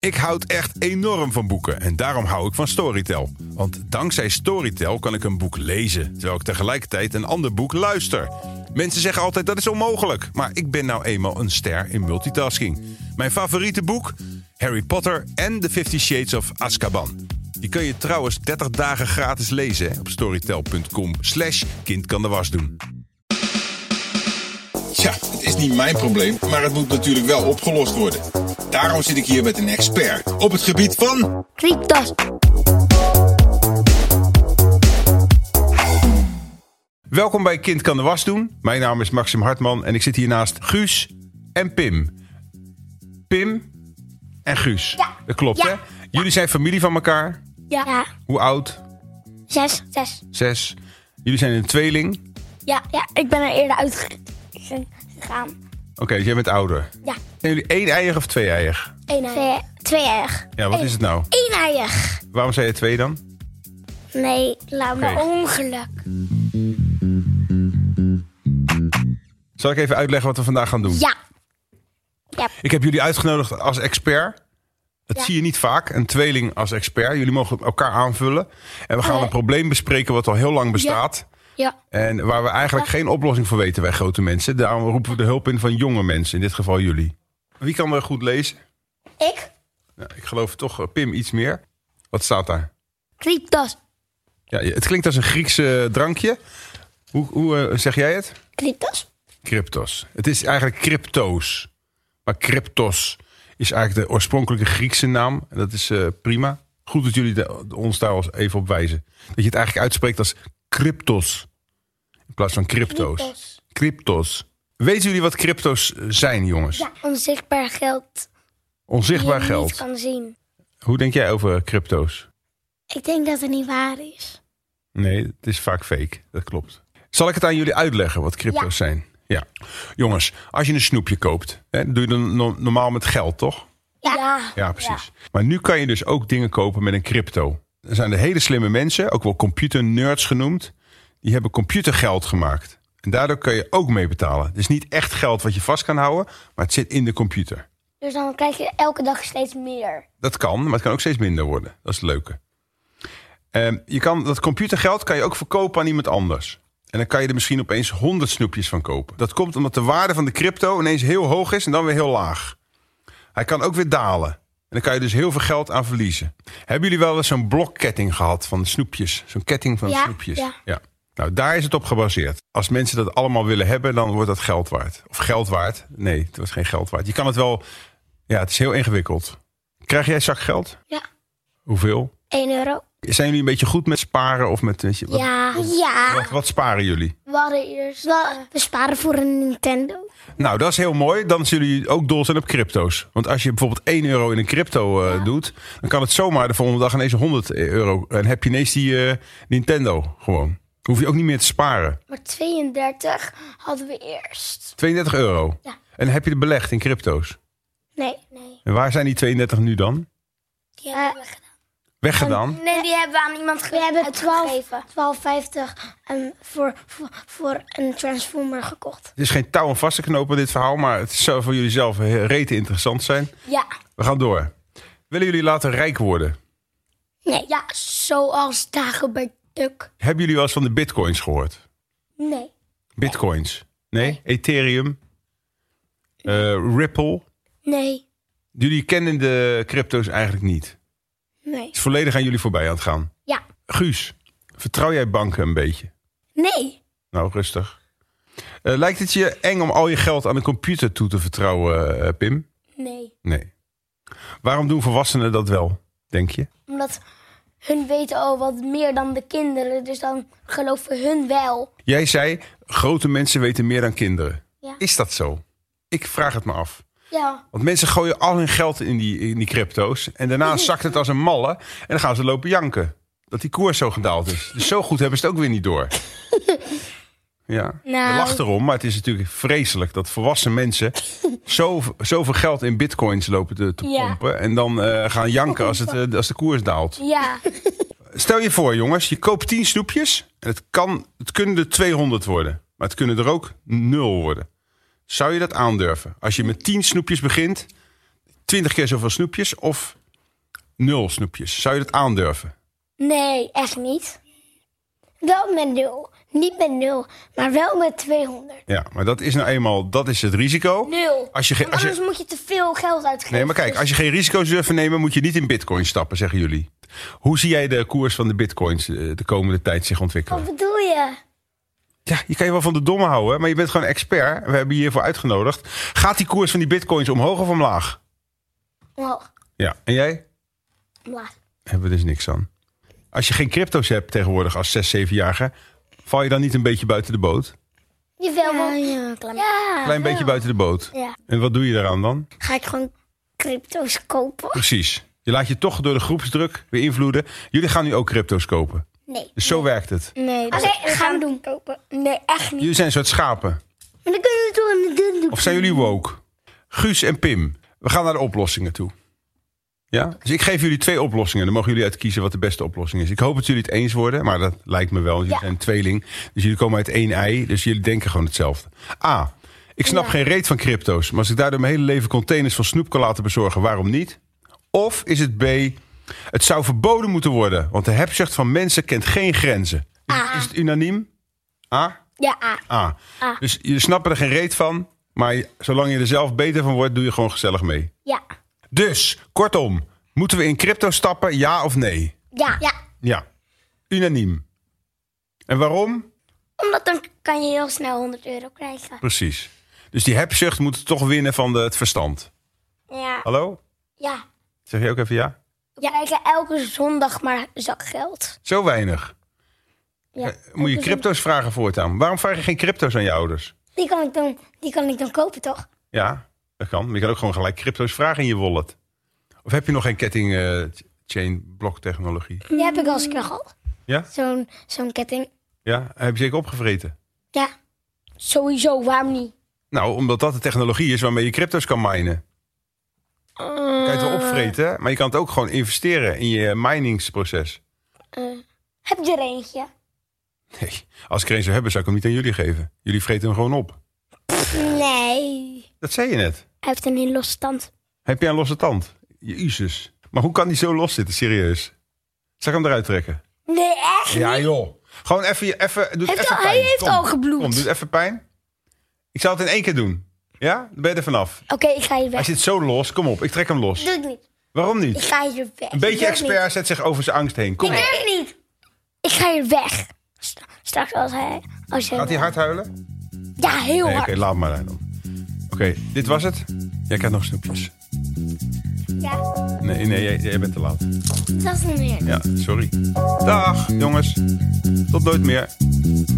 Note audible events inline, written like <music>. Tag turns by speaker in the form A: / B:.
A: Ik houd echt enorm van boeken en daarom hou ik van Storytel. Want dankzij Storytel kan ik een boek lezen, terwijl ik tegelijkertijd een ander boek luister. Mensen zeggen altijd dat is onmogelijk, maar ik ben nou eenmaal een ster in multitasking. Mijn favoriete boek? Harry Potter en The Fifty Shades of Azkaban. Die kun je trouwens 30 dagen gratis lezen hè, op storytel.com slash kind kan de was doen.
B: Ja, het is niet mijn probleem, maar het moet natuurlijk wel opgelost worden. Daarom zit ik hier met een expert op het gebied van.
C: Kriektas.
A: Welkom bij Kind kan de was doen. Mijn naam is Maxim Hartman en ik zit hier naast Guus en Pim. Pim en Guus.
C: Ja.
A: Dat klopt,
C: Ja.
A: hè? Jullie zijn familie van elkaar.
C: Ja.
A: Hoe oud?
C: Zes. Zes.
A: Zes. Jullie zijn een tweeling.
C: Ja, ja, ik ben er eerder uit gegaan.
A: Oké, dus jij bent ouder.
C: Ja.
A: Zijn jullie één eier of twee eier?
C: Twee, tweeënig.
A: Ja, wat is het nou?
C: Eenijig.
A: Waarom zei je twee dan?
C: Nee, laat me
A: Oké.
C: ongeluk.
A: Zal ik even uitleggen wat we vandaag gaan doen?
C: Ja. Ja.
A: Ik heb jullie uitgenodigd als expert. Dat
C: Ja.
A: zie je niet vaak, een tweeling als expert. Jullie mogen elkaar aanvullen. En we gaan
C: Eh.
A: een probleem bespreken wat al heel lang bestaat.
C: Ja.
A: En waar we eigenlijk geen oplossing voor weten, wij grote mensen. Daarom roepen we de hulp in van jonge mensen, in dit geval jullie. Wie kan er goed lezen?
C: Ik?
A: Nou, ik geloof toch eh, Pim iets meer. Wat staat daar?
C: Kriektas.
A: Ja, het klinkt als een Griekse eh, drankje. Hoe, hoe eh, zeg jij het?
C: Kriektas?
A: Cryptos. Het is eigenlijk crypto's. Maar cryptos is eigenlijk de oorspronkelijke Griekse naam. En dat is eh, prima. Goed dat jullie de- ons daar als even op wijzen. Dat je het eigenlijk uitspreekt als cryptos. In plaats van crypto's.
C: Kriektas.
A: Cryptos. Weten jullie wat crypto's zijn, jongens?
C: Ja, onzichtbaar geld. die je
A: Onzichtbaar
C: niet
A: geld.
C: kan zien.
A: Hoe denk jij over crypto's?
C: Ik denk dat het niet waar is.
A: Nee, het is vaak fake. Dat klopt. Zal ik het aan jullie uitleggen wat crypto's
C: Ja.
A: zijn? Ja. Jongens, als je een snoepje koopt, hè, doe je dan no- normaal met geld, toch?
C: Ja.
A: Ja, precies. Maar nu kan je dus ook dingen kopen met een crypto. Er zijn de hele slimme mensen, ook wel computernerds genoemd, die hebben computergeld gemaakt. En daardoor kun je ook mee betalen. Het is niet echt geld wat je vast kan houden, maar het zit in de computer.
C: Dus dan krijg je elke dag steeds meer.
A: Dat kan, maar het kan ook steeds minder worden. Dat is het leuke. Ehm, je kan, dat computergeld kan je ook verkopen aan iemand anders. En dan kan je er misschien opeens 100 snoepjes van kopen. Dat komt omdat de waarde van de crypto ineens heel hoog is en dan weer heel laag. Hij kan ook weer dalen. En dan kan je dus heel veel geld aan verliezen. Hebben jullie wel eens zo'n blokketting gehad van snoepjes? Zo'n ketting van
C: Ja,
A: snoepjes?
C: ja.
A: Nou, daar is het op gebaseerd. Als mensen dat allemaal willen hebben, dan wordt dat geld waard. Of geld waard. Nee, het wordt geen geld waard. Je kan het wel... Ja, het is heel ingewikkeld. Krijg jij zakgeld?
C: Ja.
A: Hoeveel?
C: 1 euro.
A: Zijn jullie een beetje goed met sparen of met... Weet je, wat,
C: Ja. Ja.
A: wat, wat sparen jullie?
C: We hadden eerst... eh, we sparen voor een Nintendo.
A: Nou, dat is heel mooi. Dan zullen jullie ook dol zijn op crypto's. Want als je bijvoorbeeld 1 euro in een crypto eh, doet... dan kan het zomaar de volgende dag ineens 100 euro... en heb je ineens die eh, Nintendo gewoon. Hoef je ook niet meer te sparen.
C: Maar 32 hadden we eerst.
A: 32 euro.
C: Ja.
A: En dan heb je het belegd in crypto's.
C: Nee. Nee.
A: En waar zijn die 32 nu dan?
C: Die hebben
A: Weggedaan?
C: we, nee, die hebben we aan iemand gegeven. We hebben 12, 12,50 en ehm, voor, voor, voor een Transformer gekocht.
A: Het is geen touw om vast te knopen dit verhaal... maar het zou voor jullie zelf eh, rete interessant zijn.
C: Ja.
A: We gaan door. Willen jullie later rijk worden?
C: Nee. Ja, zoals Dagobert Duck.
A: Hebben jullie wel eens van de bitcoins gehoord?
C: Nee.
A: Bitcoins? Nee? Ethereum? Eh, Ripple?
C: Nee.
A: Jullie kennen de crypto's eigenlijk niet. Het
C: Nee.
A: is volledig aan jullie voorbij aan het gaan.
C: Ja.
A: Guus, vertrouw jij banken een beetje?
C: Nee.
A: Nou, rustig. Eh, lijkt het je eng om al je geld aan een computer toe te vertrouwen, eh, Pim?
C: Nee.
A: Nee. Waarom doen volwassenen dat wel, denk je?
C: Omdat hun weten al wat meer dan de kinderen. Dus dan geloven hun wel.
A: Jij zei, grote mensen weten meer dan kinderen.
C: Ja.
A: Is dat zo? Ik vraag het me af.
C: Ja.
A: Want mensen gooien al hun geld in die, in die crypto's. En daarna
C: Mhm.
A: zakt het als een malle. En dan gaan ze lopen janken. Dat die koers zo gedaald is. Dus zo goed hebben ze het ook weer niet
C: <laughs>
A: door. Ja,
C: Nou.
A: we lachen erom. Maar het is natuurlijk vreselijk dat volwassen mensen... zo, zoveel geld in bitcoins lopen te, te
C: Ja.
A: pompen. En dan eh, gaan janken als, het, eh, als de koers daalt.
C: <laughs> Ja.
A: Stel je voor, jongens. Je koopt 10 snoepjes. En het, kan, het kunnen er 200 worden. Maar het kunnen er ook nul worden. Zou je dat aandurven? Als je met 10 snoepjes begint... 20 keer zoveel snoepjes of nul snoepjes? Zou je dat aandurven?
C: Nee, echt niet. Wel met nul. Niet met nul, maar wel met 200.
A: Ja, maar dat is nou eenmaal dat is het risico.
C: Nul.
A: Als je, ge-
C: Want
A: als
C: anders
A: je,
C: moet je te veel geld uitgeven.
A: nee, maar kijk, als je geen risico's durft te nemen, moet je niet in bitcoin stappen, zeggen jullie. Hoe zie jij de koers van de bitcoins eh, de komende tijd zich ontwikkelen?
C: Wat bedoel je?
A: Ja, je kan je wel van de domme houden, maar je bent gewoon expert. We hebben je hiervoor uitgenodigd. Gaat die koers van die bitcoins omhoog of omlaag?
C: Omhoog.
A: Ja, en jij?
C: Omlaag.
A: Hebben we dus niks aan. Als je geen crypto's hebt tegenwoordig als 6, 7-jarige, val je dan niet een beetje buiten de boot?
C: Jawel,
D: Ja,
C: want...
D: ja, klein.
C: Ja.
A: Klein beetje buiten de boot.
C: Ja.
A: En wat doe je daaraan dan?
C: Ga ik gewoon crypto's kopen?
A: Precies. Je laat je toch door de groepsdruk beïnvloeden. Jullie gaan nu ook crypto's kopen.
C: Nee. Mm.
A: Dus zo werkt het.
D: Nee, dat
C: Oké, dat gaan we doen.
D: kopen. Nee, echt niet.
A: Jullie zijn een soort schapen.
C: Maar dan kunnen we het door een dun doen.
A: Of zijn jullie woke? Guus en Pim, we gaan naar de oplossingen toe. Ja? Dus ik geef jullie twee oplossingen. Dan mogen jullie uitkiezen wat de beste oplossing is. Ik hoop dat jullie het eens worden, maar dat lijkt me wel. Jullie zijn tweeling, dus jullie komen uit één ei. Dus jullie denken gewoon hetzelfde. A. Ik snap geen reet van crypto's. Maar als ik daardoor mijn hele leven containers van snoep kan laten bezorgen, waarom niet? Of is het B. Het zou verboden moeten worden, want de hebzucht van mensen kent geen grenzen. Is, is het unaniem? A?
C: Ja, ah.
A: A. Dus je snapt er geen reet van. Maar je- zolang je er zelf beter van wordt, doe je gewoon gezellig mee.
C: ja.
A: Dus, kortom, moeten we in crypto stappen, ja of nee?
C: Ja. ja.
A: Ja. Unaniem. En waarom?
C: Omdat dan kan je heel snel 100 euro krijgen.
A: Precies. Dus die hebzucht moet toch winnen van de- het verstand.
C: Ja.
A: Hallo?
C: Ja.
A: Zeg je ook even ja?
C: We krijgen elke zondag maar een zak geld.
A: Zo weinig.
C: Ja.
A: Eh, Moet je crypto's vragen voortaan? Waarom vraag je geen crypto's aan je ouders?
C: Die kan ik dan, die kan ik dan kopen, toch?
A: Ja, dat kan. Maar je kan ook gewoon gelijk crypto's vragen in je wallet. Of heb je nog geen ketting eh, chain blok technologie?
C: Die heb ik als ik nog al.
A: Ja?
C: Zo'n zo'n ketting.
A: Ja, heb je zeker opgevreten?
C: Ja.
D: Sowieso, waarom niet?
A: Nou, omdat dat de technologie is waarmee je crypto's kan minen. Kan je het
C: Mm.
A: wel opvreten, maar je kan het ook gewoon investeren in je miningsproces.
C: Heb je er eentje?
A: Nee, als ik er een zou hebben, zou ik hem niet aan jullie geven. Jullie vreten hem gewoon op.
C: Nee.
A: Dat zei je net.
C: Hij heeft een heel losse stand.
A: Heb jij een losse tand? Jezus. Maar hoe kan die zo los zitten, serieus? Zal ik hem eruit trekken?
C: Nee, echt?
A: Ja, joh. Gewoon even... je- even, doe het
C: Heeft
A: even
C: al-
A: pijn.
C: hij heeft
A: Kom,
C: al gebloed.
A: Kom, doe het even pijn. Ik zal het in één keer doen. Ja? Dan ben je er vanaf.
C: Oké, ik ga hier
A: Hij
C: weg.
A: zit zo los. Kom op, ik trek hem los.
C: Doe ik niet.
A: Waarom
C: Ik
A: niet?
C: ga hier weg.
A: Een beetje expert zet zich over zijn angst heen. Kom op.
C: Echt niet. Ik ga hier weg. Stra- Straks als hij... Als hij
A: Gaat hij hard huilen?
C: Ja, heel
A: Nee, oké,
C: hard.
A: laat maar dan. Oké, dit was het. Jij krijgt nog snoepjes.
C: Ja,
A: Nee, nee, jij, jij bent te laat.
C: dat is niet meer.
A: Ja, sorry. Dag, jongens. Tot nooit meer.